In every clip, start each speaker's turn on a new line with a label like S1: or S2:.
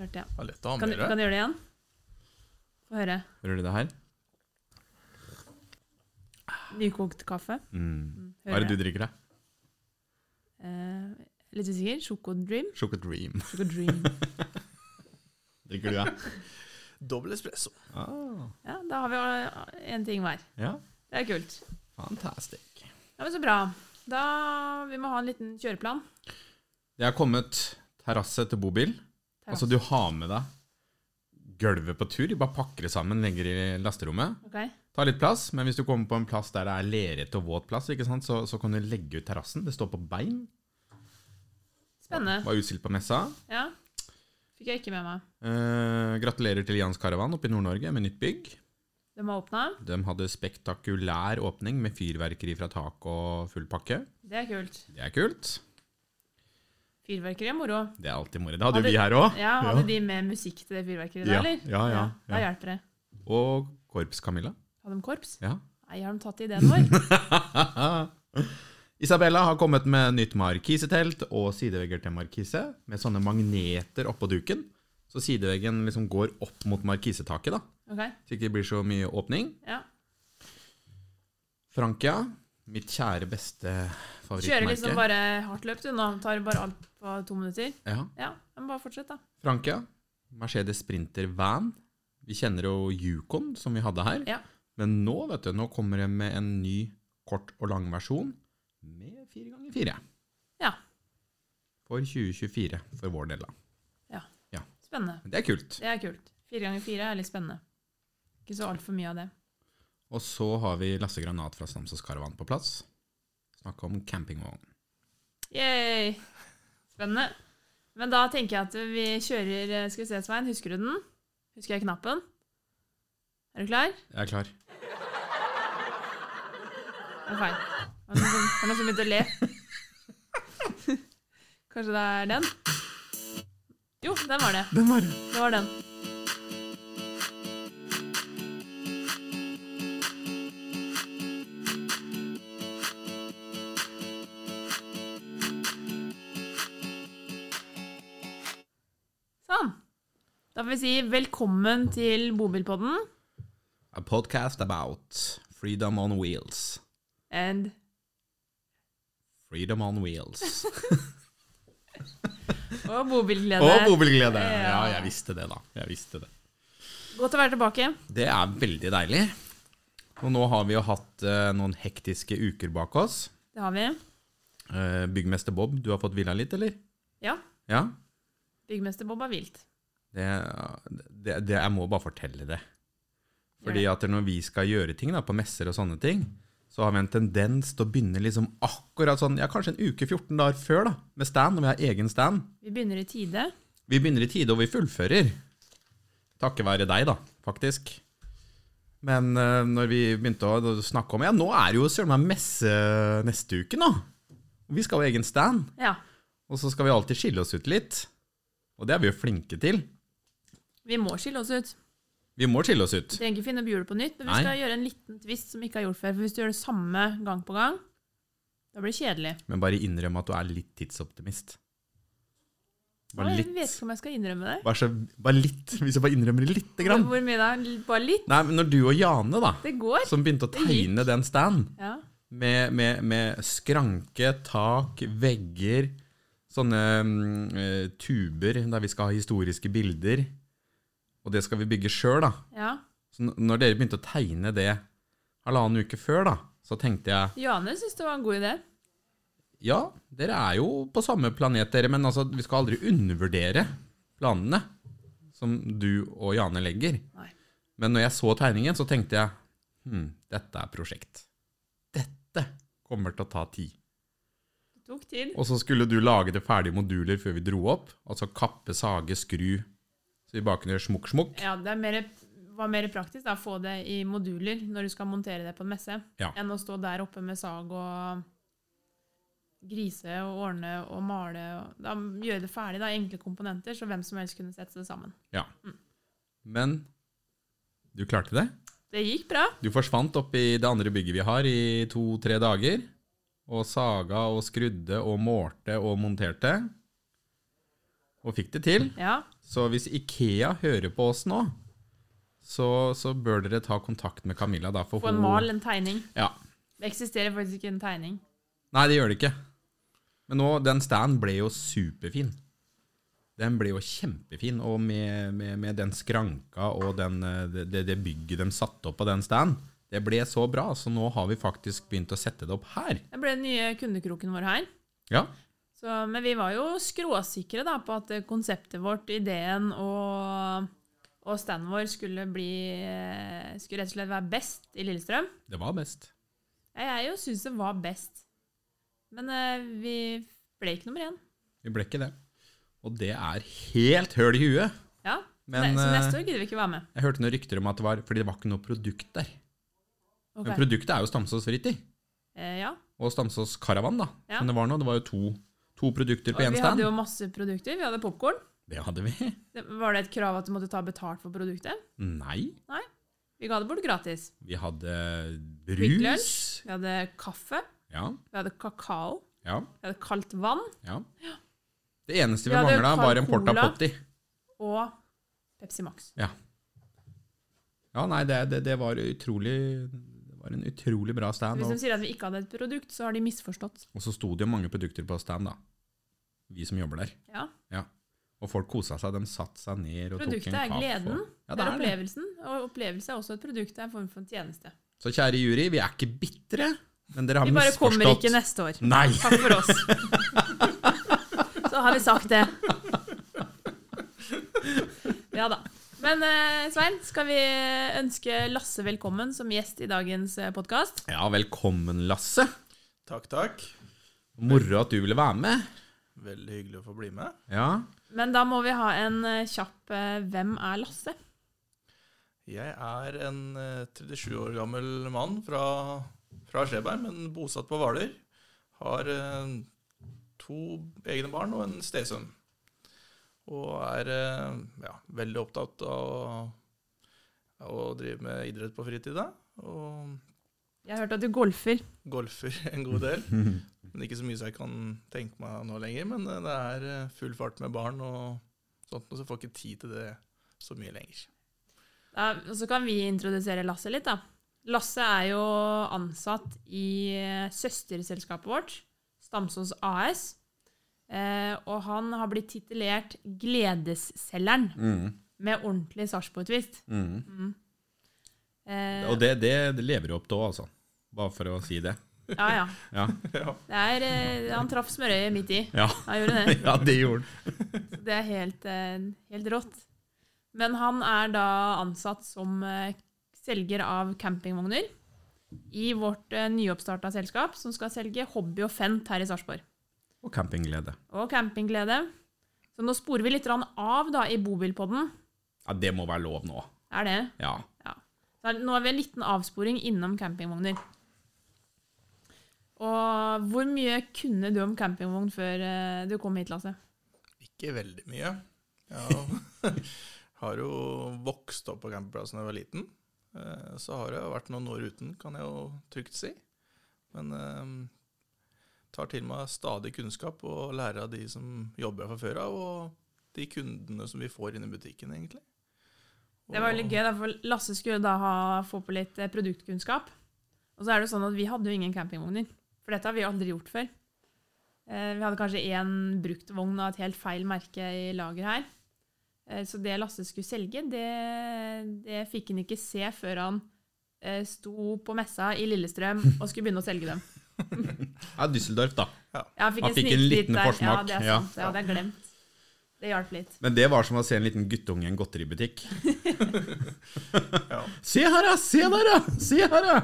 S1: Hørte jeg.
S2: Det er lett å ha eh.
S1: Kan,
S2: med
S1: du- kan
S2: deg.
S1: du gjøre det igjen? Få høre.
S3: Hører du det her?
S1: Nykokt kaffe.
S3: Mm. Hva er
S1: Hører
S3: det
S1: jeg.
S3: du drikker, da?
S1: Eh, litt usikker. Sjokodream.
S3: Choco Dream.
S1: Sjokodream.
S3: Drikker du, ja?
S2: Dobbel espresso.
S3: Ah,
S1: Ja, da har vi én ting hver.
S3: ja.
S1: Det er kult.
S3: Fantastic.
S1: Ja, men Så bra. Da Vi må ha en liten kjøreplan.
S3: Det er kommet terrasse til bobil. Altså, du har med deg gulvet på tur. Du bare pakker det sammen, legger det i lasterommet.
S1: Ok.
S3: Ta litt plass, men hvis du kommer på en plass der det er lerete og våt plass, ikke sant, så, så kan du legge ut terrassen. Det står på bein.
S1: Spennende.
S3: Var utstilt på messa.
S1: Ja. Fikk jeg ikke med meg.
S3: Eh, gratulerer til Jans Karavan oppe i Nord-Norge med nytt bygg.
S1: De har åpna.
S3: De hadde spektakulær åpning med fyrverkeri fra tak og full pakke.
S1: Det er kult.
S3: Det er kult.
S1: Fyrverkeri er moro.
S3: Det er alltid moro. Det hadde jo
S1: Hadde-
S3: vi her òg.
S1: Ja, Hadde de med musikk til det fyrverkeriet da,
S3: Ja,
S1: eller?
S3: ja, ja, ja.
S1: Da hjelper det.
S3: Og Korps Camilla.
S1: Hadde de korps?
S3: Ja.
S1: Nei, har de tatt ideen vår?
S3: Isabella har kommet med nytt markisetelt og sidevegger til markise, med sånne magneter oppå duken. Så sideveggen liksom går opp mot markisetaket, da.
S1: Ok,
S3: Så ikke det blir så mye åpning.
S1: ja.
S3: Frankia, mitt kjære beste
S1: Kjører
S3: favorittmerke.
S1: liksom bare hardt løp, du. Nå tar bare alt på to minutter.
S3: Ja.
S1: Ja, men bare fortsett, da.
S3: Frankia, Mercedes Sprinter Van. Vi kjenner jo Yukon, som vi hadde her.
S1: Ja.
S3: Men nå, vet du, nå kommer det med en ny kort og lang versjon med fire ganger fire.
S1: Ja.
S3: For 2024, for vår del, da.
S1: Spennende.
S3: Men det er kult.
S1: Det er kult. Fire ganger fire er litt spennende. Ikke så altfor mye av det.
S3: Og så har vi Lasse Granat fra Stamsås Caravan på plass. Snakk om campingvogn.
S1: Yay! Spennende. Men da tenker jeg at vi kjører eh, Skal vi se, Svein. Husker du den? Husker jeg knappen? Er du klar?
S3: Jeg er klar.
S1: Det er feil. Var det noen som- var det noen som begynte å le? Kanskje det er den? Jo, den var det.
S3: Den var
S1: Det var den. Sånn. Da får vi si velkommen til Bobilpodden
S3: A podcast about freedom on wheels.
S1: and
S3: Freedom on wheels.
S1: og
S3: Og
S1: bobilglede.
S3: bobilglede! Ja,
S1: Ja.
S3: jeg visste det, da. Jeg visste det.
S1: Godt å være tilbake.
S3: Det er veldig deilig. Og nå har vi jo hatt eh, noen hektiske uker bak oss.
S1: Det har vi.
S3: Eh, byggmester Bob, du har fått hvila litt, eller?
S1: Ja.
S3: Ja?
S1: Byggmester Bob er vilt.
S3: Det, det, det, jeg må bare fortelle det. Fordi at når vi skal gjøre ting da, på messer og sånne ting, så har vi en tendens til å begynne liksom akkurat sånn, ja, kanskje en uke 14 dager før da, med stand, når vi har egen stand.
S1: Vi begynner i tide.
S3: Vi begynner i tide, og vi fullfører. Takket være deg, da, faktisk. Men eh, når vi begynte å snakke om Ja, nå er det jo søren meg messe eh, neste uke, nå. Og vi skal ha egen stand.
S1: Ja.
S3: Og så skal vi alltid skille oss ut litt. Og det er vi jo flinke til.
S1: Vi må skille oss ut.
S3: Vi må skille oss ut.
S1: Vi trenger ikke finne opp hjulet på nytt, men vi
S3: Nei.
S1: skal gjøre en liten twist som vi ikke har gjort før. For hvis du gjør det samme gang på gang, da blir det kjedelig.
S3: Men bare innrøm at du er litt tidsoptimist. Bare
S1: Nei,
S3: litt.
S1: Jeg vet ikke om jeg skal innrømme det.
S3: Bare, så, bare litt, hvis jeg bare innrømmer det lite grann.
S1: Hvor mye da? L- Bare litt?
S3: Nei, men når du og Jane, da,
S1: Det går.
S3: som begynte å
S1: Det gikk.
S3: tegne den stand
S1: Ja.
S3: med, med, med skranke, tak, vegger, sånne mm, eh, tuber der vi skal ha historiske bilder, og det skal vi bygge sjøl, da.
S1: ja.
S3: Så n- når dere begynte å tegne det halvannen uke før, da, så tenkte jeg
S1: Jane syns det var en god idé.
S3: ja, dere er jo på samme planet, dere, men altså, vi skal aldri undervurdere planene som du og Jane legger.
S1: Nei.
S3: Men når jeg så tegningen, så tenkte jeg hm, dette er prosjekt. Dette kommer til å ta tid.
S1: Det tok tid.
S3: Og så skulle du lage det ferdige moduler før vi dro opp. Altså kappe, sage, skru. Så vi bare kunne gjøre smukk, smukk.
S1: Ja, det er mer, var mer praktisk da, å få det i moduler når du skal montere det på en messe,
S3: Ja.
S1: enn å stå der oppe med sag og grise og ordne og male. Og, da gjøre det ferdig, da, enkle komponenter, så hvem som helst kunne sette det sammen.
S3: Ja. Men du klarte det.
S1: Det gikk bra.
S3: Du forsvant opp i det andre bygget vi har i to-tre dager. Og saga og skrudde og målte og monterte. og fikk det til.
S1: Ja.
S3: Så hvis Ikea hører på oss nå, så, så bør dere ta kontakt med Camilla. Da, for
S1: Få en
S3: hun-
S1: mal, en tegning.
S3: Ja.
S1: Det eksisterer faktisk ikke en tegning.
S3: Nei, det gjør det ikke. Men nå, den standen ble jo superfin. Den ble jo kjempefin, og med, med, med den skranka og den, eh, det- det, det bygget de satte opp på den standen, det ble så bra, så nå har vi faktisk begynt å sette det opp her.
S1: Det ble den nye kundekroken vår her.
S3: Ja,
S1: Så, men vi var jo skråsikre da, på at konseptet vårt, ideen og, og standen vår skulle, bli, eh, skulle rett og slett være best i Lillestrøm.
S3: det var best.
S1: Ja, Jeg jo syns det var best. Men eh, vi ble ikke nummer én.
S3: Vi ble ikke det. Og det er helt høl i huet.
S1: Ja.
S3: Men,
S1: ne så
S3: eh,
S1: neste år gidder vi ikke være med.
S3: Jeg hørte noen rykter om at det var fordi det var ikke noe produkt der.
S1: Ok.
S3: Men produktet er jo Stamsås Fritid
S1: Eh, ja.
S3: og Stamsås Caravan, da.
S1: Ja.
S3: Men det var noe, det var jo to, to produkter
S1: Og
S3: på én
S1: vi hadde
S3: stand.
S1: jo masse produkter. Vi hadde popkorn.
S3: Det hadde vi.
S1: Var det et krav at du måtte ta betalt for produktet?
S3: Nei.
S1: Vi ga det bort gratis.
S3: Vi hadde
S1: Quick
S3: brus.
S1: Lunch. Vi hadde kaffe.
S3: Ja,
S1: Vi hadde kakao.
S3: ja,
S1: Vi hadde kaldt vann
S3: ja. Det eneste vi,
S1: Vi hadde
S3: mangla, var en
S1: Coca-Cola.
S3: porta potti.
S1: og Pepsi Max.
S3: Ja, nei, det, det, det var utrolig Det var en utrolig bra
S1: Så
S3: stand.
S1: hvis de
S3: Og,
S1: sier at vi ikke hadde et produkt, så har de misforstått.
S3: og så sto det jo mange produkter på stand, da. Vi som jobber der.
S1: Ja.
S3: Og folk kosa seg. De satte seg ned og
S1: Produktet
S3: tok en
S1: er
S3: kaffe.
S1: gleden.
S3: og- Ja,
S1: det er
S3: det er det.
S1: opplevelsen, og opplevelse er også et produkt. Det er en form for en tjeneste.
S3: Så kjære jury, vi er ikke bitre, men dere har
S1: Vi bare
S3: misforstått.
S1: kommer ikke neste år.
S3: Nei!
S1: Takk for oss. Så har vi sagt det. Ja da. Men eh, Svein, skal vi ønske Lasse velkommen som gjest i dagens eh, podkast?
S3: Ja, velkommen, Lasse.
S2: Takk, takk.
S3: Moro at du ville være med.
S2: Veldig hyggelig å få bli med.
S3: Ja.
S1: Men da må vi ha en eh, kjapp eh, 'Hvem er Lasse?'
S2: Jeg er en eh, 37 år gammel mann fra, fra Skjeberg, men bosatt på Hvaler. Har eh, to egne barn og en stesønn. Og er eh, ja, veldig opptatt av å, av å drive med idrett på fritida. Og
S1: Jeg har hørt at du golfer.
S2: golfer en god del. Men ikke så mye som jeg kan tenke meg nå lenger. Men eh, det er eh, full fart med barn og sånt, og så får jeg ikke tid til det så mye lenger.
S1: Da, og så kan vi introdusere Lasse litt, da. Lasse er jo ansatt i eh, søsterselskapet vårt, Stamsås AS. Eh, og han har blitt titulert 'Gledesselgeren',
S3: Mm,
S1: med ordentlig Sarpsborg-twist.
S3: mm.
S1: Eh,
S3: Og det, det, det lever jo opp da, altså. Bare for å si det.
S1: ja, ja.
S3: Ja,
S2: Ja.
S1: Det er, eh, han traff smørøyet midt i.
S3: ja.
S1: Han gjorde det.
S3: ja det gjorde den.
S1: Så det er helt, eh, helt rått. Men han er da ansatt som eh, selger av campingvogner i vårt eh, nyoppstarta selskap, som skal selge hobby og fent her i Sarpsborg.
S3: Og campingglede.
S1: Og campingglede. Så nå sporer vi litt grann av da i bobilpodden.
S3: Ja, det må være lov nå.
S1: Er det?
S3: Ja.
S1: Ja. Så er- nå har vi en liten avsporing innom campingvogner. Og hvor mye kunne du om campingvogn før eh, du kom hit, Lasse?
S2: Ikke veldig mye. Ja. har jo vokst opp på campingplassen da jeg var liten. Eh, Så har jeg vært noen år uten, kan jeg jo trygt si. Men eh, tar til meg stadig kunnskap og lærer av de som jobber her fra før av, og de kundene som vi får inn i butikken, egentlig.
S1: Det var
S2: Og-
S1: veldig gøy, da, for Lasse skulle da ha, få på litt eh, produktkunnskap. Og så er det jo sånn at vi hadde jo ingen campingvogner, for dette har vi aldri gjort før. Eh, Vi hadde kanskje én bruktvogn av et helt feil merke i lager her. Eh, Så det Lasse skulle selge, det, det fikk han ikke se før han eh, sto på messa i Lillestrøm og skulle begynne å selge dem.
S3: ja Düsseldorf, da.
S1: Ja, han fikk
S3: Han
S1: en,
S3: fikk en
S1: sneak peek
S3: liten
S1: der. Ja,
S3: forsmak,
S1: det er
S3: ja.
S1: sant. Det hadde jeg glemt. Det hjalp litt.
S3: Men det var som å se en liten guttunge i en godteributikk.
S2: Ja.
S3: Se her, da! Se der, da! Se her, da!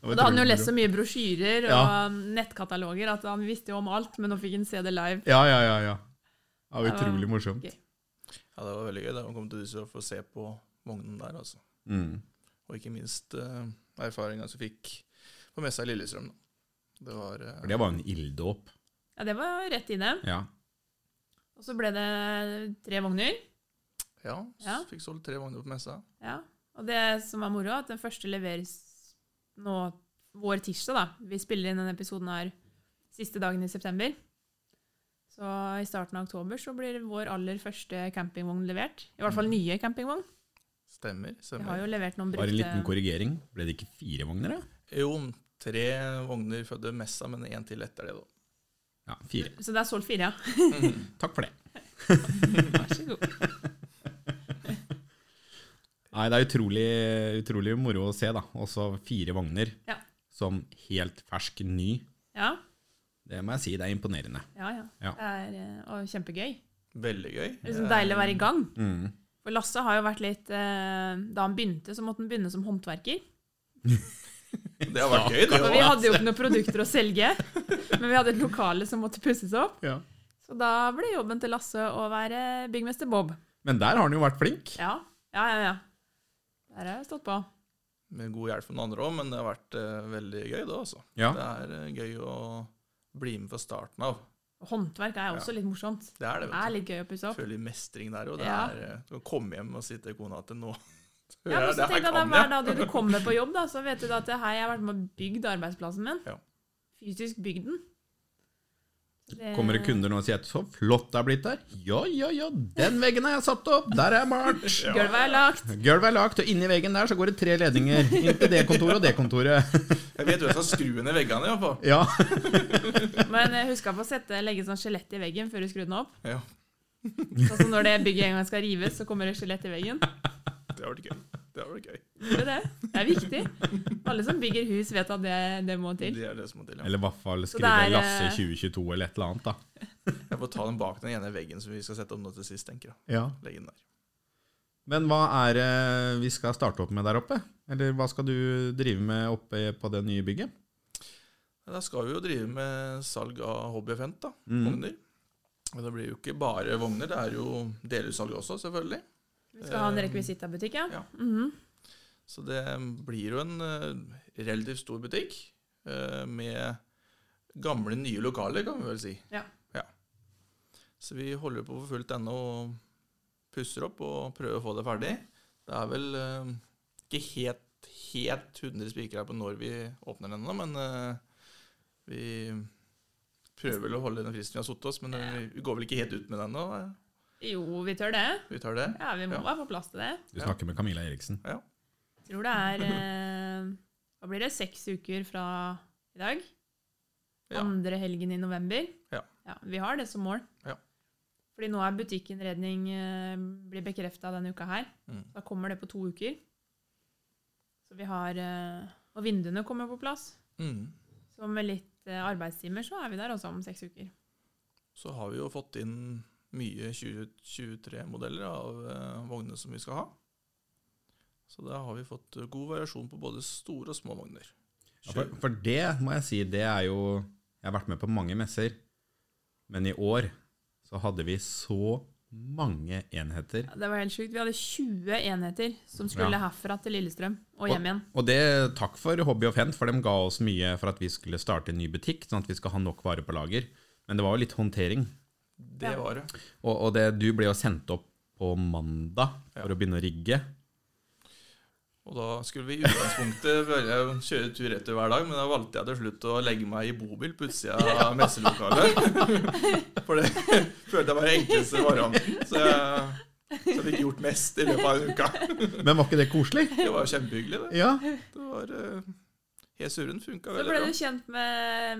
S1: Og da hadde han jo lest så mye brosjyrer og
S3: Ja.
S1: nettkataloger at han visste jo om alt, men nå fikk han se det live.
S3: Ja, ja, ja. ja. Det var
S1: Det var
S3: utrolig morsomt.
S1: gøy.
S2: Ja, det var veldig gøy da å komme til Düsseldorf og se på vognen der, altså.
S3: Mm.
S2: Og ikke minst uh, erfaringa som fikk på messa i Lillestrøm. Da. Det var eh,
S3: For Det var jo en ilddåp.
S1: Ja, det var rett inne.
S3: Ja.
S1: Og så ble det tre vogner.
S2: Ja, s-
S1: Ja.
S2: fikk solgt tre vogner på messa.
S1: Ja. Og det som er moro, er at den første leveres nå vår tirsdag, da. Vi spiller inn denne episoden her siste dagen i september. Så Så i starten av oktober så blir vår aller første campingvogn levert. I hvert fall nye campingvogn.
S2: Stemmer.
S1: Vi har
S2: stemmer.
S1: jo levert noen
S3: Mm. Bare en liten
S1: brukte
S3: korrigering. Ble det ikke fire vogner, da?
S2: Jo, tre vogner fødte Messa, men én til etter det, da.
S3: Ja, fire.
S1: Så det er solgt fire, ja.
S3: Takk for det.
S1: Vær så god.
S3: Nei, det er utrolig, utrolig moro å se, da. Også fire vogner
S1: Ja.
S3: som helt fersk ny.
S1: Ja,
S3: Det må jeg si, det er imponerende.
S1: ja. ja.
S3: Ja.
S1: Det er eh, og kjempegøy.
S2: Veldig gøy.
S1: Det er liksom deilig å være i gang.
S3: Mm.
S1: For Lasse har jo vært litt eh, Da han begynte, så måtte han begynne som håndverker.
S2: Det har vært gøy, det
S1: For
S2: òg.
S1: vi hadde jo ikke noen produkter å selge, men vi hadde et lokale som måtte pusses opp. Så da ble jobben til Lasse å være byggmester Bob.
S3: Men der har han jo vært flink.
S1: Ja, ja, ja. ja. Der har jeg stått på.
S2: Med god hjelp fra noen andre òg, men det har vært eh, veldig gøy, det også.
S3: Ja.
S2: Det er eh, gøy å bli med fra starten av.
S1: Håndverk er også litt morsomt.
S2: Det er det,
S1: Det er
S2: vet du.
S1: litt gøy å pusse opp.
S2: Føler mestring der òg.
S1: Ja.
S2: eh, Du kan komme hjem og si til kona at nå
S1: Ja, men så
S2: Det her
S1: tenk deg da,
S2: kan
S1: Hver
S2: jeg.
S1: dag du kommer på jobb, da, så vet du at det her jeg har vært med og bygd arbeidsplassen min.
S2: Ja.
S1: Fysisk bygd den. Så det-
S3: Kommer det kunder nå og sier at 'så flott det er blitt der'? Ja, ja, ja, den veggen har jeg satt opp, der er jeg malt.
S1: Gulvet er lagt.
S3: Gulvet er lagt, og inni veggen der så går det tre ledninger. Inn til det kontoret og det kontoret.
S2: Jeg vet hvem som skrur ned veggene, iallfall.
S3: Ja.
S1: Men eh, husk på å sette, legge sånn skjelett i veggen før du skrur den opp.
S2: Ja,
S1: Sånn som når det bygget en gang skal rives, så kommer det skjelett i veggen.
S2: det har vært gøy. Det har vært gøy.
S1: Det er, det. det er viktig. Alle som bygger hus, vet at det, det må til.
S2: Det er det som må til. Ja.
S3: Eller i hvert fall
S1: Så det
S3: skrive
S1: er, eh,
S3: 'Lasse 2022' eller et eller annet, da.
S2: Jeg får ta den bak den ene veggen som vi skal sette opp nå til sist, tenker jeg.
S3: Ja.
S2: Legge den der.
S3: Men hva er det vi skal starte opp med der oppe? Eller hva skal du drive med oppe på det nye bygget?
S2: Men Da skal vi jo drive med salg av hobbyevent, da.
S3: Mhm.
S2: Vogner. Og det blir jo ikke bare vogner, det er jo delutsalg også, selvfølgelig.
S1: Vi skal ha en rekvisittabutikk, ja.
S2: Ja.
S1: Mhm.
S2: Så det blir jo en eh, relativt stor butikk eh, med gamle, nye lokaler, kan vi vel si.
S1: Ja.
S2: Så vi holder på for fullt ennå og pusser opp og prøver å få det ferdig. Det er vel eh, ikke helt, helt 100 spikere på når vi åpner den ennå, men eh, vi prøver vel å holde den fristen vi har satt oss, men eh, vi går vel ikke helt ut med den ennå. eh.
S1: Jo, vi tør det.
S2: Vi tar det.
S1: Ja, Vi må
S2: Ja.
S1: være på plass til det.
S3: Du snakker med Camilla Eriksen.
S1: Tror det er eh, Hva blir det? Seks uker fra i dag?
S2: Ja.
S1: Andre helgen i november?
S2: Ja.
S1: Vi har det som mål.
S2: Ja.
S1: Fordi nå er butikkinnredning eh, blir bekrefta denne uka her.
S2: Mm.
S1: Da kommer det på to uker. Så vi har eh, Og vinduene kommer på plass.
S2: Mm.
S1: Så med litt eh, arbeidstimer så er vi der også om seks uker.
S2: Så har vi jo fått inn mye 2023-modeller av eh, vognene som vi skal ha. Så da har vi fått eh, god variasjon på både store og små vogner.
S3: Ja, for, for det må jeg si, det er jo Jeg har vært med på mange messer, men i år så hadde vi så mange enheter.
S1: Ja, Det var helt sjukt. Vi hadde 20 enheter som skulle
S3: Ja.
S1: herfra til Lillestrøm og hjem igjen.
S3: Og det takk for Hobby og Fent, for de ga oss mye for at vi skulle starte en ny butikk, sånn at vi skal ha nok vare på lager. Men det var jo litt håndtering.
S2: Det
S1: Ja.
S2: var det.
S3: Og, og det, du ble jo sendt opp på mandag for
S2: Ja.
S3: å begynne å rigge.
S2: Og da skulle vi i utgangspunktet velge å kjøre tur-retur hver dag, men da valgte jeg til slutt å legge meg i bobil på utsida av messelokalet. For det følte jeg var den enkleste varianten. Så jeg, så jeg fikk gjort mest i løpet av en uka.
S3: Men var ikke det koselig?
S2: Det var jo kjempehyggelig, det.
S3: Ja.
S2: Det var eh, Helt surren funka
S1: Så
S2: veldig
S1: ble
S2: bra.
S1: du kjent med,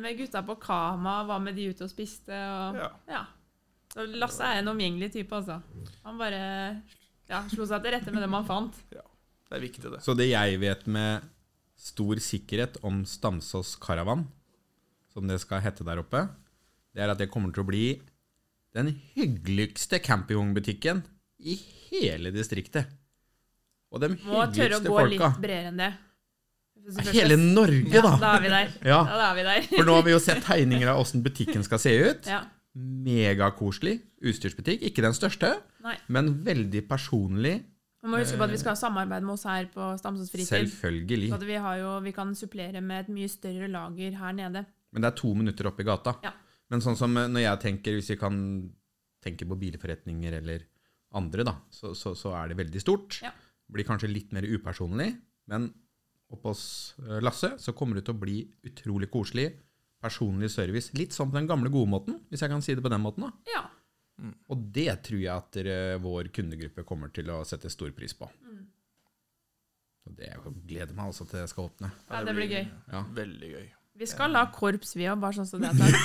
S1: med gutta på Kama, var med de ute og spiste. Og, ja.
S2: Ja.
S1: Så Lasse er en omgjengelig type, altså. Han bare ja, slo seg til rette med dem han fant.
S2: Det er viktig, det.
S3: Så det jeg vet med stor sikkerhet om Stamsås Caravan, som det skal hete der oppe, det er at det kommer til å bli den hyggeligste campingvognbutikken i hele distriktet. Og de
S1: Må tørre å
S3: hyggeligste
S1: gå
S3: folka.
S1: litt bredere enn det. Hvis du
S3: Hele
S1: først-
S3: Norge,
S1: ja,
S3: da!
S1: Da er vi der.
S3: Ja,
S1: Ja, da er vi der.
S3: For nå har vi jo sett tegninger av åssen butikken skal se ut.
S1: Ja.
S3: Megakoselig utstyrsbutikk. Ikke den største,
S1: Nei.
S3: men veldig personlig.
S1: Man må huske på at
S3: Eh,
S1: vi skal ha samarbeid med oss her på Stamsås fritid.
S3: Selvfølgelig.
S1: Så at vi, har jo, vi kan supplere med et mye større lager her nede.
S3: Men det er to minutter oppe i gata.
S1: Ja.
S3: Men sånn som eh, når jeg tenker, hvis vi kan tenke på bilforretninger eller andre, da, så, så, så er det veldig stort.
S1: Ja.
S3: Blir kanskje litt mer upersonlig, men oppe hos eh, Lasse så kommer det til å bli utrolig koselig personlig service. Litt sånn på den gamle gode måten, hvis jeg kan si det på den måten. da.
S1: Ja.
S3: Og det tror jeg at eh, vår kundegruppe kommer til å sette stor pris på. Og det jeg gleder meg altså til jeg skal åpne.
S1: ja, det blir gøy.
S3: Ja.
S2: Veldig gøy.
S1: Vi skal la korps, vi òg, bare sånn som det er sagt.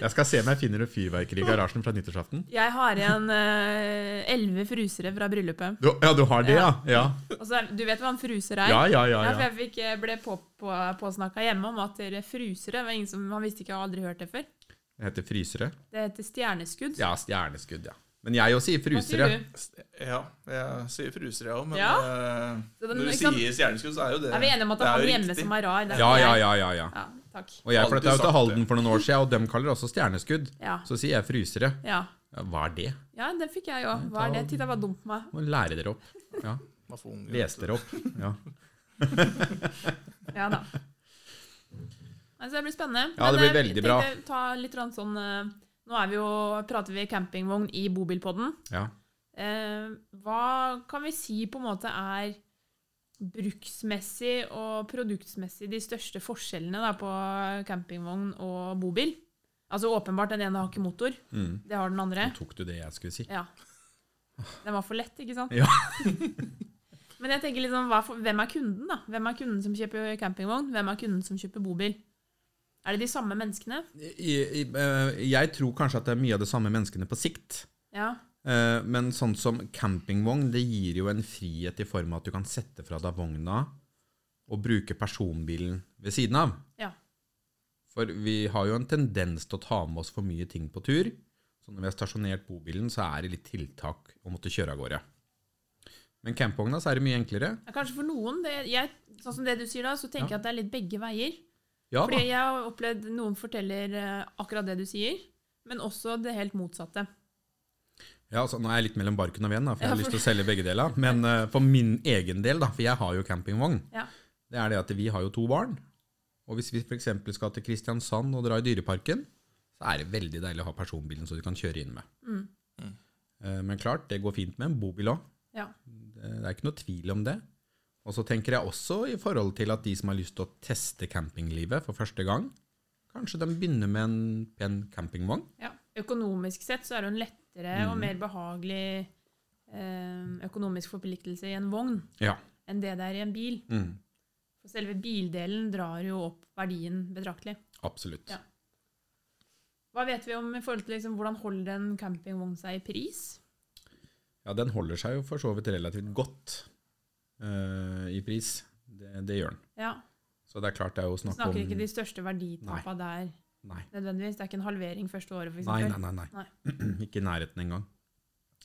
S3: Jeg skal se om jeg finner noe fyrverkeri i garasjen fra nyttårsaften.
S1: Jeg har igjen elleve frusere fra bryllupet.
S3: Du, ja, du har det, ja? Ja,
S1: Og så er, du vet hva en fruser er?
S3: ja, ja. ja,
S1: Ja, for
S3: ja.
S1: jeg fikk, eh, ble på, på, påsnakka hjemme om at dere frusere var ingen som, Han visste ikke, jeg har aldri hørt det før.
S3: Det heter frysere.
S1: Det heter stjerneskudd.
S3: Ja, stjerneskudd, ja. Men jeg òg sier
S1: Hva
S3: frysere.
S1: sier du?
S2: Ja, jeg sier fruser, jeg òg, men
S1: Ja.
S2: eh,
S1: Så den-
S2: når du
S1: ikke sant?
S2: sier stjerneskudd, så er jo det
S1: Er vi enige om at det
S2: det
S1: er
S2: jo
S1: han hjemme
S2: riktig.
S1: som er rar? det er
S3: Ja,
S1: ikke
S3: ja,
S1: jeg?
S3: ja, ja, ja.
S1: ja. Takk.
S3: Og jeg flytta jo
S2: Alltid
S3: til
S2: sagt
S3: Halden
S2: det.
S3: for noen år siden, og dem kaller det også stjerneskudd.
S1: Ja.
S3: Så sier jeg frysere.
S1: Ja.
S3: Ja, hva er det?
S1: ja, det fikk jeg òg. Hva er det? Titta, var dumt på meg.
S3: Må lære dere opp. Ja,
S2: Man får unge, vet
S3: Lese
S2: du.
S3: dere opp. Ja,
S1: Ja da. Altså, det blir spennende.
S3: Ja,
S1: Men,
S3: det blir
S1: eh,
S3: veldig
S1: tenkte
S3: bra.
S1: jeg Ta litt grann sånn, eh, nå er vi jo, prater vi campingvogn i bobilpodden.
S3: ja.
S1: Eh, hva kan vi si på en måte er bruksmessig og produktsmessig de største forskjellene da, på campingvogn og bobil? Altså åpenbart, den ene har ikke motor.
S3: Mm.
S1: Det har den andre.
S3: Nå tok du det jeg skulle si.
S1: Ja. Den var for lett, ikke sant?
S3: Ja.
S1: Men jeg tenker liksom, hva for, hvem er kunden, da? Hvem er kunden som kjøper campingvogn? Hvem er kunden som kjøper bobil? Er det de samme menneskene?
S3: I- i- eh, Jeg tror kanskje at det er mye av det samme menneskene på sikt.
S1: Ja.
S3: Eh, Men sånn som campingvogn, det gir jo en frihet i form av at du kan sette fra deg vogna og bruke personbilen ved siden av.
S1: Ja.
S3: For vi har jo en tendens til å ta med oss for mye ting på tur. Så når vi har stasjonert bobilen, så er det litt tiltak å måtte kjøre av gårde. Men campvogna så er det mye enklere.
S1: Ja, Kanskje for noen. Det, jeg, sånn som det du sier da, så tenker jeg at det er litt begge veier.
S3: Ja da.
S1: Fordi jeg har opplevd noen forteller eh, akkurat det du sier, men også det helt motsatte.
S3: Ja, altså, nå er jeg litt mellom barken og veden, da, for jeg
S1: Ja,
S3: har lyst
S1: for-
S3: til å selge begge deler. Men eh, for min egen del, da, for jeg har jo campingvogn,
S1: Ja.
S3: det er det at vi har jo to barn. Og hvis vi f.eks. skal til Kristiansand og dra i Dyreparken, så er det veldig deilig å ha personbilen så du kan kjøre inn med.
S1: Mm.
S2: Mm.
S3: Eh, Men klart, det går fint med en bobil òg.
S1: Ja.
S3: Det er ikke noe tvil om det. Og så tenker jeg også i forhold til at de som har lyst til å teste campinglivet for første gang, kanskje de begynner med en pen campingvogn.
S1: Ja. Økonomisk sett så er det jo en lettere og
S3: Mm.
S1: mer behagelig eh, økonomisk forpliktelse i en vogn
S3: Ja.
S1: enn det det er i en bil.
S3: Mm.
S1: For selve bildelen drar jo opp verdien betraktelig.
S3: Absolutt.
S1: Ja. Hva vet vi om i forhold til liksom, hvordan holder en campingvogn seg i pris?
S3: Ja, den holder seg jo for så vidt relativt godt eh, i pris. Det, det gjør den.
S1: Ja.
S3: Så det er klart det er jo snakk om
S1: Snakker ikke de største verditapene der
S3: Nei,
S1: nødvendigvis? Det er ikke en halvering første året, f.eks.?
S3: nei, nei. nei, nei. ikke i nærheten engang.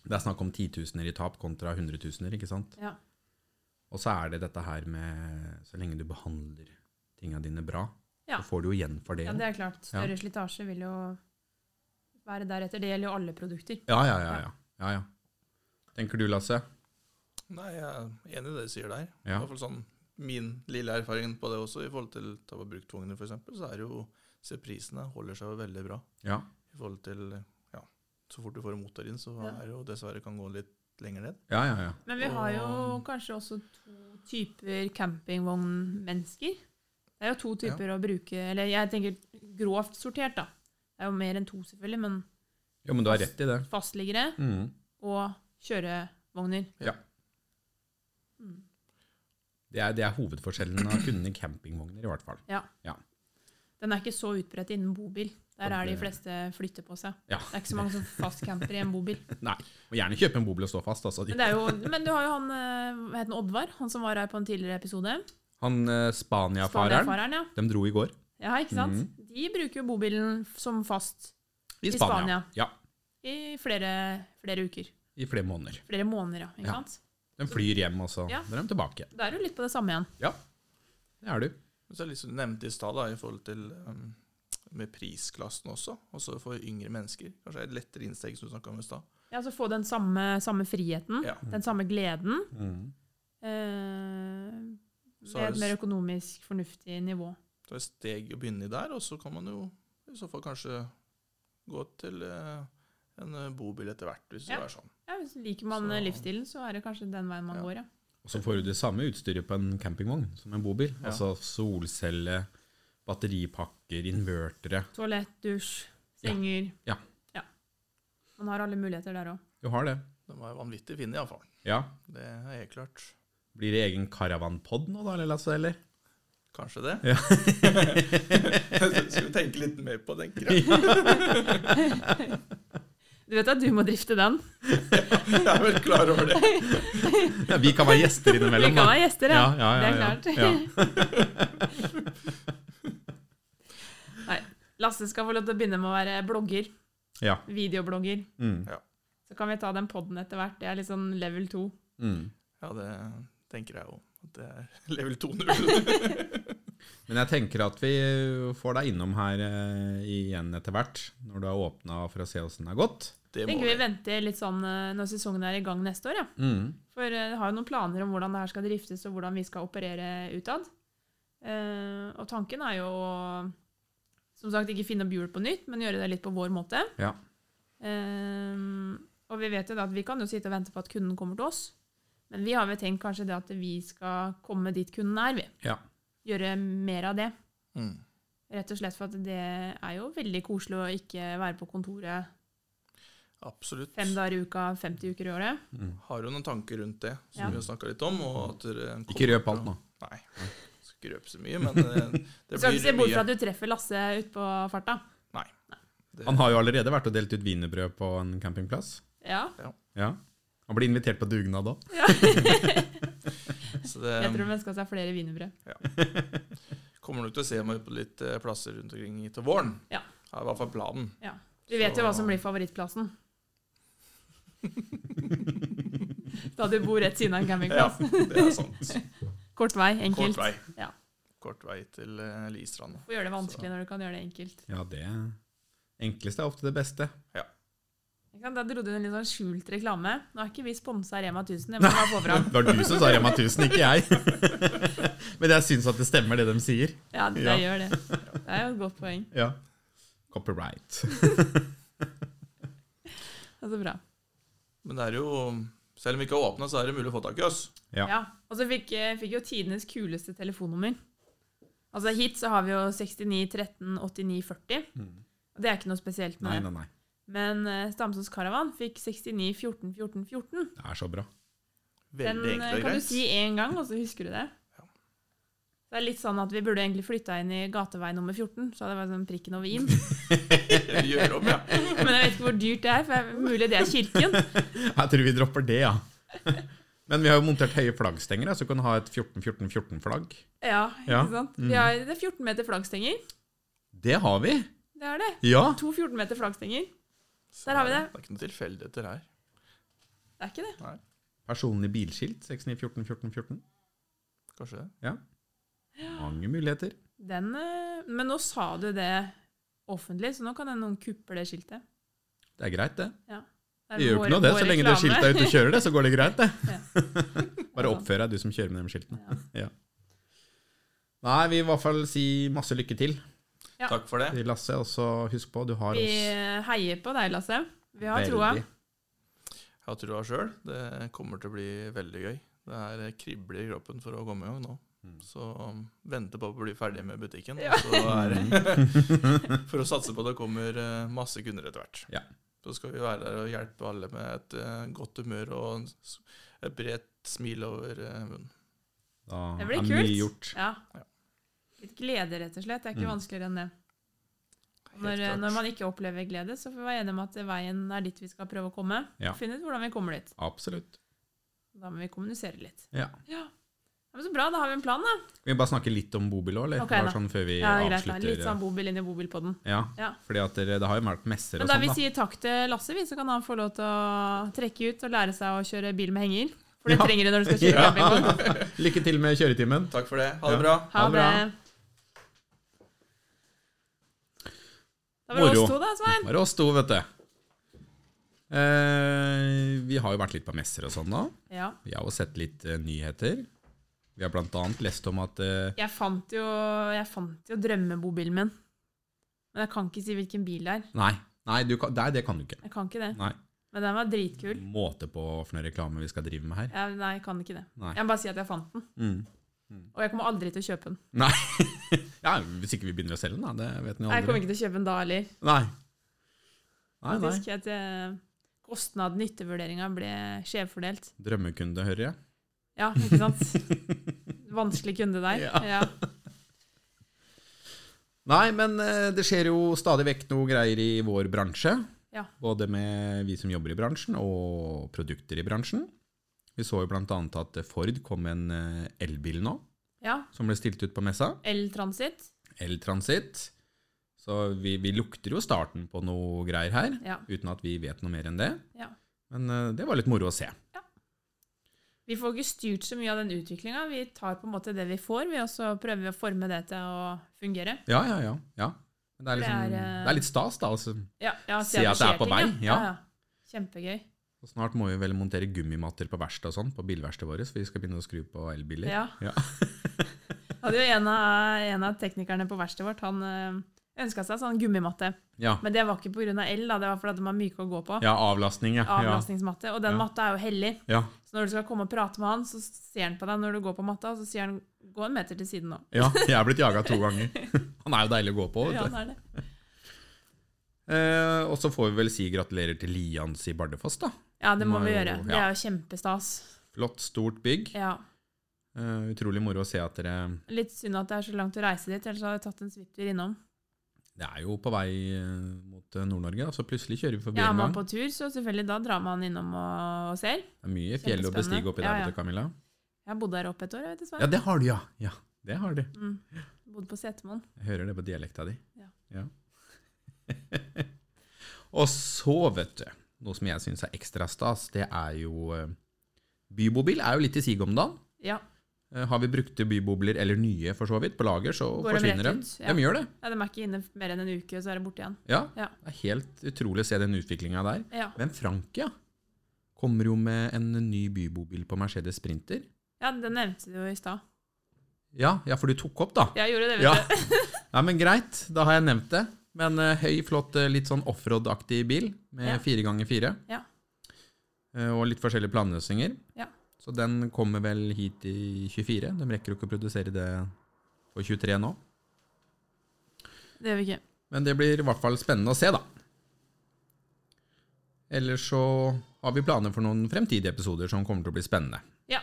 S3: Det er snakk om titusener i tap kontra hundretusener, ikke sant?
S1: Ja.
S3: Og så er det dette her med Så lenge du behandler tinga dine bra,
S1: Ja.
S3: så får du jo igjen for det.
S1: Ja, det er klart. Større slitasje vil jo være deretter. Det gjelder jo alle produkter.
S3: ja, ja, ja, ja. ja, ja. Tenker du, Lasse?
S2: Nei, jeg er enig i det du sier der. I
S3: Ja.
S2: hvert fall sånn min lille erfaring på det også, i forhold til ta på bruktvogner f.eks., så er det jo se prisene holder seg jo veldig bra.
S3: Ja.
S2: I forhold til ja, så fort du får en motor inn, så
S1: Ja.
S2: er det jo dessverre kan gå litt lenger ned.
S3: Ja, ja, ja.
S1: Men vi har jo kanskje også to typer campingvognmennesker. Det er jo to typer å bruke Eller jeg tenker grovt sortert, da. Det er jo mer enn to, selvfølgelig, men
S3: Jo, men du har rett i det.
S1: fastliggere
S3: Mm.
S1: og kjørevogner. Mm.
S3: Det er, det er hovedforskjellen av kundene i campingvogner, i hvert fall.
S1: Den er ikke så utbredt innen bobil. Der er de
S3: Det-
S1: fleste flytter på seg.
S3: Ja.
S1: Det er ikke så mange som fastcamper i en bobil.
S3: Nei. Må gjerne kjøpe en bobil og stå fast. Altså.
S1: Men, det er jo, men du har jo han eh, hva het han, Oddvar, han som var her på en tidligere episode.
S3: Han eh, Spania-fareren,
S1: Spania-fareren, ja.
S3: de dro i går.
S1: Ja, ikke sant?
S3: Mm.
S1: De bruker jo bobilen f- som fast
S3: I
S1: I
S3: Spania.
S1: Spania.
S3: Ja,
S1: i flere, flere uker.
S3: I flere måneder.
S1: Flere måneder, ja. Ikke
S3: Ja.
S1: sant?
S3: De flyr hjem, altså. og så
S1: Ja.
S3: drar de tilbake.
S1: Da er det jo litt på det samme igjen.
S3: Ja, det er du.
S2: Men så er det litt som du nevnte i stad, da, i forhold til um, med prisklassen også, også for yngre mennesker. Kanskje et lettere innsteg, som du snakka om i stad.
S1: Ja, så få den samme, samme friheten,
S2: Ja.
S1: den samme gleden,
S3: Mm.
S1: eh,
S2: Så
S1: ved
S2: er
S1: et
S2: det
S1: mer
S2: s-
S1: økonomisk fornuftig nivå.
S2: Så er det steg å begynne i der, og så kan man jo i så fall kanskje gå til eh, en eh, bobil etter hvert, hvis
S1: Ja.
S2: det er sånn.
S1: Ja, hvis liker man
S2: Så-
S1: livsstilen, så er det kanskje den veien man
S2: Ja.
S1: går, ja.
S3: Og så får du det samme utstyret på en campingvogn som en bobil.
S2: Ja.
S3: Altså solcelle, batteripakker, invertere.
S1: Toalett, dusj, senger.
S3: Ja.
S1: Ja. Man har alle muligheter der òg.
S3: Du har det.
S2: De var jo vanvittig fine, iallfall.
S3: Ja.
S2: Det er helt klart.
S3: Blir det egen caravanpod nå, da, eller Lasse? Eller?
S2: Kanskje det.
S3: Ja.
S2: Skal vi tenke litt mer på den greia.
S1: Du vet at du må drifte den?
S2: Jeg er vel klar over det.
S3: Ja, vi kan være gjester
S1: Vi
S3: innimellom.
S1: kan
S3: da.
S1: være gjester, ja.
S3: Ja, ja, ja,
S1: det er klart.
S3: ja.
S1: Nei. Lasse skal få lov til å begynne med å være blogger.
S3: Ja.
S1: Videoblogger.
S3: Mm.
S1: Så kan vi ta den poden etter hvert. Det er litt sånn level 2.
S3: Mm.
S2: Ja, det tenker jeg jo. At det er level 2.0.
S3: Men jeg tenker at vi får deg innom her eh, igjen etter hvert, når du har åpna for å se åssen det har gått.
S2: Det må
S1: Tenker vi
S2: vi.
S1: venter litt sånn eh, når sesongen er i gang neste år, ja.
S2: Mm.
S1: For eh, jeg har jo noen planer om hvordan det her skal driftes, og hvordan vi skal operere utad. Eh, og tanken er jo å som sagt ikke finne opp hjul på nytt, men gjøre det litt på vår måte.
S3: Ja.
S1: Eh, og vi vet jo da at vi kan jo sitte og vente på at kunden kommer til oss, men vi har vel tenkt kanskje det at vi skal komme dit kunden er, vi.
S3: Ja.
S1: Gjøre mer av det.
S2: Mm.
S1: Rett og slett for at det er jo veldig koselig å ikke være på kontoret
S2: Absolutt.
S1: fem dager i uka, 50 uker i året.
S2: Har jo noen tanker rundt det, som
S1: Ja.
S2: vi har snakka litt om. Og at dere kommer
S3: Ikke røp alt
S2: til å-
S3: nå.
S2: Nei. Skal ikke røpe så mye, men eh,
S1: Du
S2: det
S1: skal ikke se
S2: blir
S1: bort fra
S2: mye.
S1: at du treffer Lasse utpå farta.
S2: Det-
S3: Han har jo allerede vært og delt ut wienerbrød på en campingplass.
S1: Ja,
S3: Ja. Han blir invitert på dugnad òg.
S2: Så
S1: jeg tror
S2: det mm,
S1: vi skal ha flere wienerbrød.
S2: kommer nok til å se meg på litt eh, plasser rundt omkring til våren.
S1: Ja.
S2: Det er i hvert fall planen.
S1: Vi vet jo hva
S2: Så-
S1: som blir favorittplassen. da du bor rett siden av en
S2: Ja,
S1: campingplass.
S2: det er sant.
S1: Kort vei,
S2: Kort
S1: enkelt.
S2: vei.
S1: Ja.
S2: Kort vei til eh, Listranda.
S1: Får gjøre det vanskelig når du kan gjøre det enkelt.
S3: Ja, det enkleste er ofte det beste.
S1: Ikke sant? Da dro du inn en litt sånn skjult reklame. Nå er ikke vi sponsa Rema 1000, det må vi bare få fram.
S3: Det var du som sa Rema 1000, ikke jeg. Men jeg syns at det stemmer, det de sier.
S1: Ja, det
S3: Ja.
S1: gjør det. Det er jo et godt poeng.
S3: Ja. Copyright.
S1: Det er så bra.
S2: Men det er jo Selv om vi ikke har åpna, så er det mulig å få tak i oss.
S3: Ja.
S1: Ja, og så fikk, eh, fikk jo tidenes kuleste telefonnummer. Altså hit så har vi jo 69 13 89 40.
S3: Mm.
S1: Og det er ikke noe spesielt
S3: Nei,
S1: med det.
S3: nei, nei.
S1: Men eh, Stamsås Caravan fikk 69 14 14 14.
S3: Det er så bra.
S1: Den
S2: Veldig
S1: eh,
S2: enkelt og
S1: kan du
S2: greit.
S1: si én gang, og så husker du det.
S2: Ja.
S1: Det er litt sånn at vi burde egentlig flytta inn i gatevei nummer 14, så hadde det vært sånn prikken over i-en.
S2: Gjør om, ja.
S1: Men jeg vet ikke hvor dyrt det er, for det er mulig det er kirken.
S3: Jeg tror vi dropper det, ja. Men vi har jo montert høye flaggstenger, da, så du kan ha et 14-14-14-flagg.
S1: Ja, ikke
S3: Ja. Mm.
S1: sant? Vi har, det er 14 meter flaggstenger.
S3: Det har vi!
S1: Det er det.
S3: Ja!
S1: To 14 meter flaggstenger.
S2: Så
S1: Der har vi det.
S2: Det er ikke noen tilfeldigheter her.
S1: Det er ikke det.
S3: Personlig bilskilt 69-14-14-14.
S2: Kanskje det.
S3: Mange muligheter.
S1: Den, eh, men nå sa du det offentlig, så nå kan det noen kuppe det skiltet.
S3: Det er greit, det.
S1: Det er
S3: Det gjør jo
S1: vår-
S3: ikke noe, det.
S1: vår
S3: Så lenge det
S1: reklame.
S3: skiltet er ute og kjører, det, så går det greit, det. Bare
S1: Ja.
S3: oppfør deg, du som kjører med de skiltene.
S1: Ja.
S3: Nei, vi vil i hvert fall si masse lykke til
S1: Ja.
S2: Takk for det.
S3: til Lasse, og så husk på, du har
S1: Vi
S3: oss
S1: heier på deg, Lasse. Vi har troa.
S3: veldig.
S2: Jeg har trua sjøl. Det kommer til å bli veldig gøy. Det er kribler i kroppen for å komme i gang nå.
S3: Mm.
S2: Så um, vente på å bli ferdig med butikken.
S1: Ja.
S2: og Så er det for å satse på at det kommer eh, masse kunder etter hvert.
S3: Ja.
S2: Så skal vi være der og hjelpe alle med et eh, godt humør og en s- et bredt smil over eh, munnen.
S3: Da
S1: Det
S3: er
S1: blir
S3: mye
S1: kult.
S3: gjort.
S1: Ja.
S2: Ja.
S1: Litt glede, rett og slett. Det er ikke
S3: Mm.
S1: vanskeligere enn det.
S2: Helt
S1: Når, eh,
S2: klart.
S1: når man ikke opplever glede, så får vi være enige om at veien er dit vi skal prøve å komme.
S3: Ja.
S1: Og finne ut hvordan vi kommer dit.
S3: Absolutt.
S1: Da må vi kommunisere litt.
S3: Ja.
S1: Ja, men så bra, da har vi en plan, da.
S3: Skal vi bare snakke litt om bobil òg, eller?
S1: Ok,
S3: Bare
S1: da.
S3: sånn før vi
S1: Ja, det er greit, da.
S3: avslutter.
S1: Litt sånn bobil inn i bobilpodden.
S3: ja.
S1: Ja.
S3: Fordi at det, det har jo vært messer
S1: Men
S3: og
S1: da
S3: sånn,
S1: vi
S3: da.
S1: sier takk til Lasse, vi, så kan han få lov til å trekke ut og lære seg å kjøre bil med henger. For det
S3: Ja.
S1: trenger du når du skal kjøre campingvogn.
S3: Ja. Lykke til med kjøretimen.
S2: Takk for det. Ha
S3: Ja.
S2: det bra.
S1: Ha
S3: Ha det
S1: det.
S3: bra.
S1: Da var det
S3: Moro.
S1: oss to, da, Svein.
S3: Bare oss to, vet du. Eh, vi har jo vært litt på messer og sånn da.
S1: Ja.
S3: Vi har jo sett litt eh, nyheter. Vi har blant annet lest om at eh,
S1: Jeg fant jo, jeg fant jo drømmebobilen min. Men jeg kan ikke si hvilken bil det er.
S3: Nei, nei, du kan, nei, det kan du ikke.
S1: Jeg kan ikke det.
S3: Nei.
S1: Men den var dritkul.
S3: måte på for noe reklame vi skal drive med her.
S1: Ja, nei, jeg kan ikke det.
S3: Nei.
S1: Jeg må bare si at jeg fant den.
S3: Mm.
S1: Og jeg kommer aldri til å kjøpe den.
S3: Nei. ja, hvis ikke vi begynner å selge den, da. Det vet ni
S1: Nei, jeg
S3: aldri.
S1: kommer ikke til å kjøpe den da heller.
S3: Nei. Nei, nei.
S1: Faktisk at eh, kostnad-nyttevurderinga ble skjevfordelt.
S3: Drømmekunde, hører jeg.
S1: Ja, ikke sant? Vanskelig kunde der. Ja.
S3: Ja. Nei, men eh, det skjer jo stadig vekk noe greier i vår bransje.
S1: Ja.
S3: Både med vi som jobber i bransjen, og produkter i bransjen. Vi så jo bl.a. at Ford kom med en eh, elbil nå,
S1: ja.
S3: som ble stilt ut på messa.
S1: Eltransit.
S3: Eltransit. Så vi, vi lukter jo starten på noe greier her,
S1: Ja.
S3: uten at vi vet noe mer enn det.
S1: Ja.
S3: Men eh, det var litt moro å se.
S1: Vi får ikke styrt så mye av den utviklinga. Vi tar på en måte det vi får, vi, og så prøver vi å forme det til å fungere.
S3: Ja, ja, ja. ja. Men det, er
S1: Det
S3: liksom, det,
S1: er,
S3: er,
S1: eh,
S3: litt stas, da. Altså.
S1: Ja, ja,
S3: Se at det er
S1: skjer
S3: på
S1: ting,
S3: vei, ja.
S1: Kjempegøy.
S3: Og snart må vi vel montere gummimatter på verkstedet og sånn, på bilverkstedet vårt, for vi skal begynne å skru på elbiler.
S1: Ja. Hadde jo en av, en av teknikerne på verkstedet vårt, han ønska seg sånn gummimatte.
S3: ja.
S1: Men det var ikke pga. el, da. det var fordi de var myke å gå på.
S3: Ja, avlastning, ja.
S1: Avlastningsmatte. Og den
S3: Ja.
S1: matta er jo hellig.
S3: Ja.
S1: Så når du skal komme og prate med han, så ser han på deg når du går på matta, og så sier han 'gå en meter til siden nå'.
S3: ja. ja, jeg er blitt jaga to ganger. Han er jo deilig å gå på.
S1: Ja,
S3: Vet du.
S1: det er det.
S3: Eh, og så får vi vel si gratulerer til Lians i Bardufoss, da.
S1: Ja, det må vi
S3: Må jo-
S1: gjøre. Det
S3: ja.
S1: er jo kjempestas.
S3: Flott, stort bygg.
S1: Ja.
S3: Eh, utrolig moro å se at dere
S1: Litt synd at det er så langt å reise dit, ellers hadde jeg tatt en svipptur innom.
S3: Det er jo på vei eh, mot eh, Nord-Norge, da, så plutselig kjører vi forbi
S1: Ja, er
S3: en
S1: man
S3: gang.
S1: på tur, så selvfølgelig, da drar man innom og, og ser.
S3: Det er mye fjell å
S1: Kjempespennende.
S3: bestige oppi der,
S1: Ja, ja.
S3: vet du, Camilla.
S1: Jeg bodde der oppe et år, jeg vet dessverre.
S3: Ja, det har du, ja. Ja, det har du.
S1: Mm. Bodde på Setermoen.
S3: Jeg hører det på dialekta di.
S1: Ja.
S3: og så, vet du, noe som jeg syns er ekstra stas, det er jo eh, Bybobil er jo litt i siget om dagen.
S1: Ja.
S3: Eh, Har vi brukte bybobler, eller nye for så vidt, på lager, så
S1: Går de
S3: forsvinner de.
S1: rett ut? Ja.
S3: De gjør det.
S1: ja. De er ikke inne mer enn en uke, så er de borte igjen.
S3: Ja.
S1: Ja.
S3: Det er helt utrolig å se den utviklinga der.
S1: Ja.
S3: Men Frankia kommer jo med en ny bybobil på Mercedes Sprinter.
S1: ja, det nevnte du jo i stad.
S3: Ja, ja, for du tok opp, da.
S1: Jeg gjorde det, vet
S3: Ja.
S1: du.
S3: Nei, men greit, da har jeg nevnt det. Men eh, høy, flott, eh, litt sånn offroad-aktig bil
S1: Ja.
S3: med fire ganger fire.
S1: Ja.
S3: Eh, Og litt forskjellige planløsninger.
S1: Ja.
S3: Så den kommer vel hit i 24. De rekker jo ikke å produsere det på 23 nå.
S1: Det gjør vi ikke.
S3: Men det blir i hvert fall spennende å se, da. Ellers så har vi planer for noen fremtidige episoder som kommer til å bli spennende.
S1: Ja.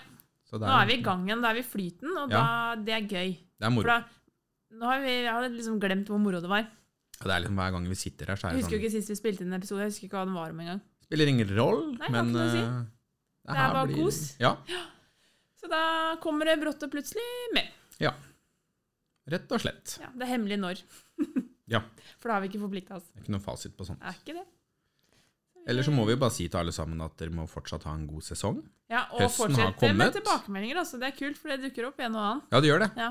S3: Så det
S1: Nå er vi i gang igjen, da er vi i flyten, og da, det er gøy.
S3: Det er
S1: For
S3: moro.
S1: da, nå har vi, jeg hadde liksom glemt hvor moro det var.
S3: Ja, Det er liksom hver gang vi sitter her, så er
S1: Jeg
S3: det
S1: husker jo
S3: sånn
S1: ikke sist vi spilte inn en episode, jeg husker ikke hva den var om engang.
S3: Spiller ingen rolle,
S1: Nei, det har
S3: men
S1: ikke noe å si.
S3: eh,
S1: Det er
S3: her
S1: bare
S3: blir-
S1: kos.
S3: Ja,
S1: Så da kommer det brått og plutselig med.
S3: rett og slett.
S1: Ja, det er hemmelig når.
S3: Ja.
S1: For da har vi ikke forplikta oss.
S3: Det er ikke noe fasit på sånt.
S1: Det er ikke det.
S3: Eller så må vi bare si til alle sammen at dere må fortsatt ha en god sesong.
S1: Ja, og
S3: Høsten har
S1: fortsette med
S3: kommet.
S1: tilbakemeldinger, altså. Det er kult, for det dukker opp en og annen.
S3: Ja, det gjør det.
S1: Ja.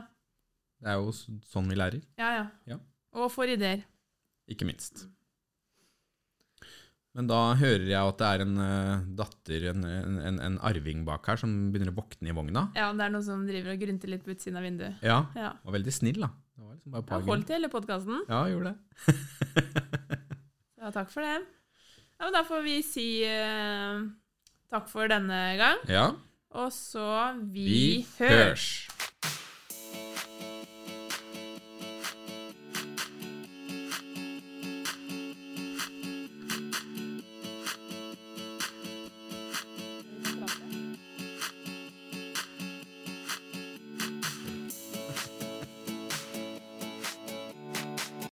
S3: Det er jo s- sånn vi lærer,
S1: Ja, ja.
S3: Ja.
S1: Og får ideer.
S3: ikke minst. Men da hører jeg at det er en eh, datter, en, en, en, en arving bak her, som begynner å våkne i vogna.
S1: Ja, det er noen som driver og grynter litt på utsiden av vinduet.
S3: Ja,
S1: Ja.
S3: var veldig snill, da. Det var liksom bare
S1: Jeg har
S3: plagen.
S1: holdt i hele podkasten,
S3: Ja, gjorde det.
S1: så takk for det. Ja, men da får vi si eh, takk for denne gang,
S3: Ja,
S1: og så vi,
S3: vi
S1: hørs.
S3: hørs.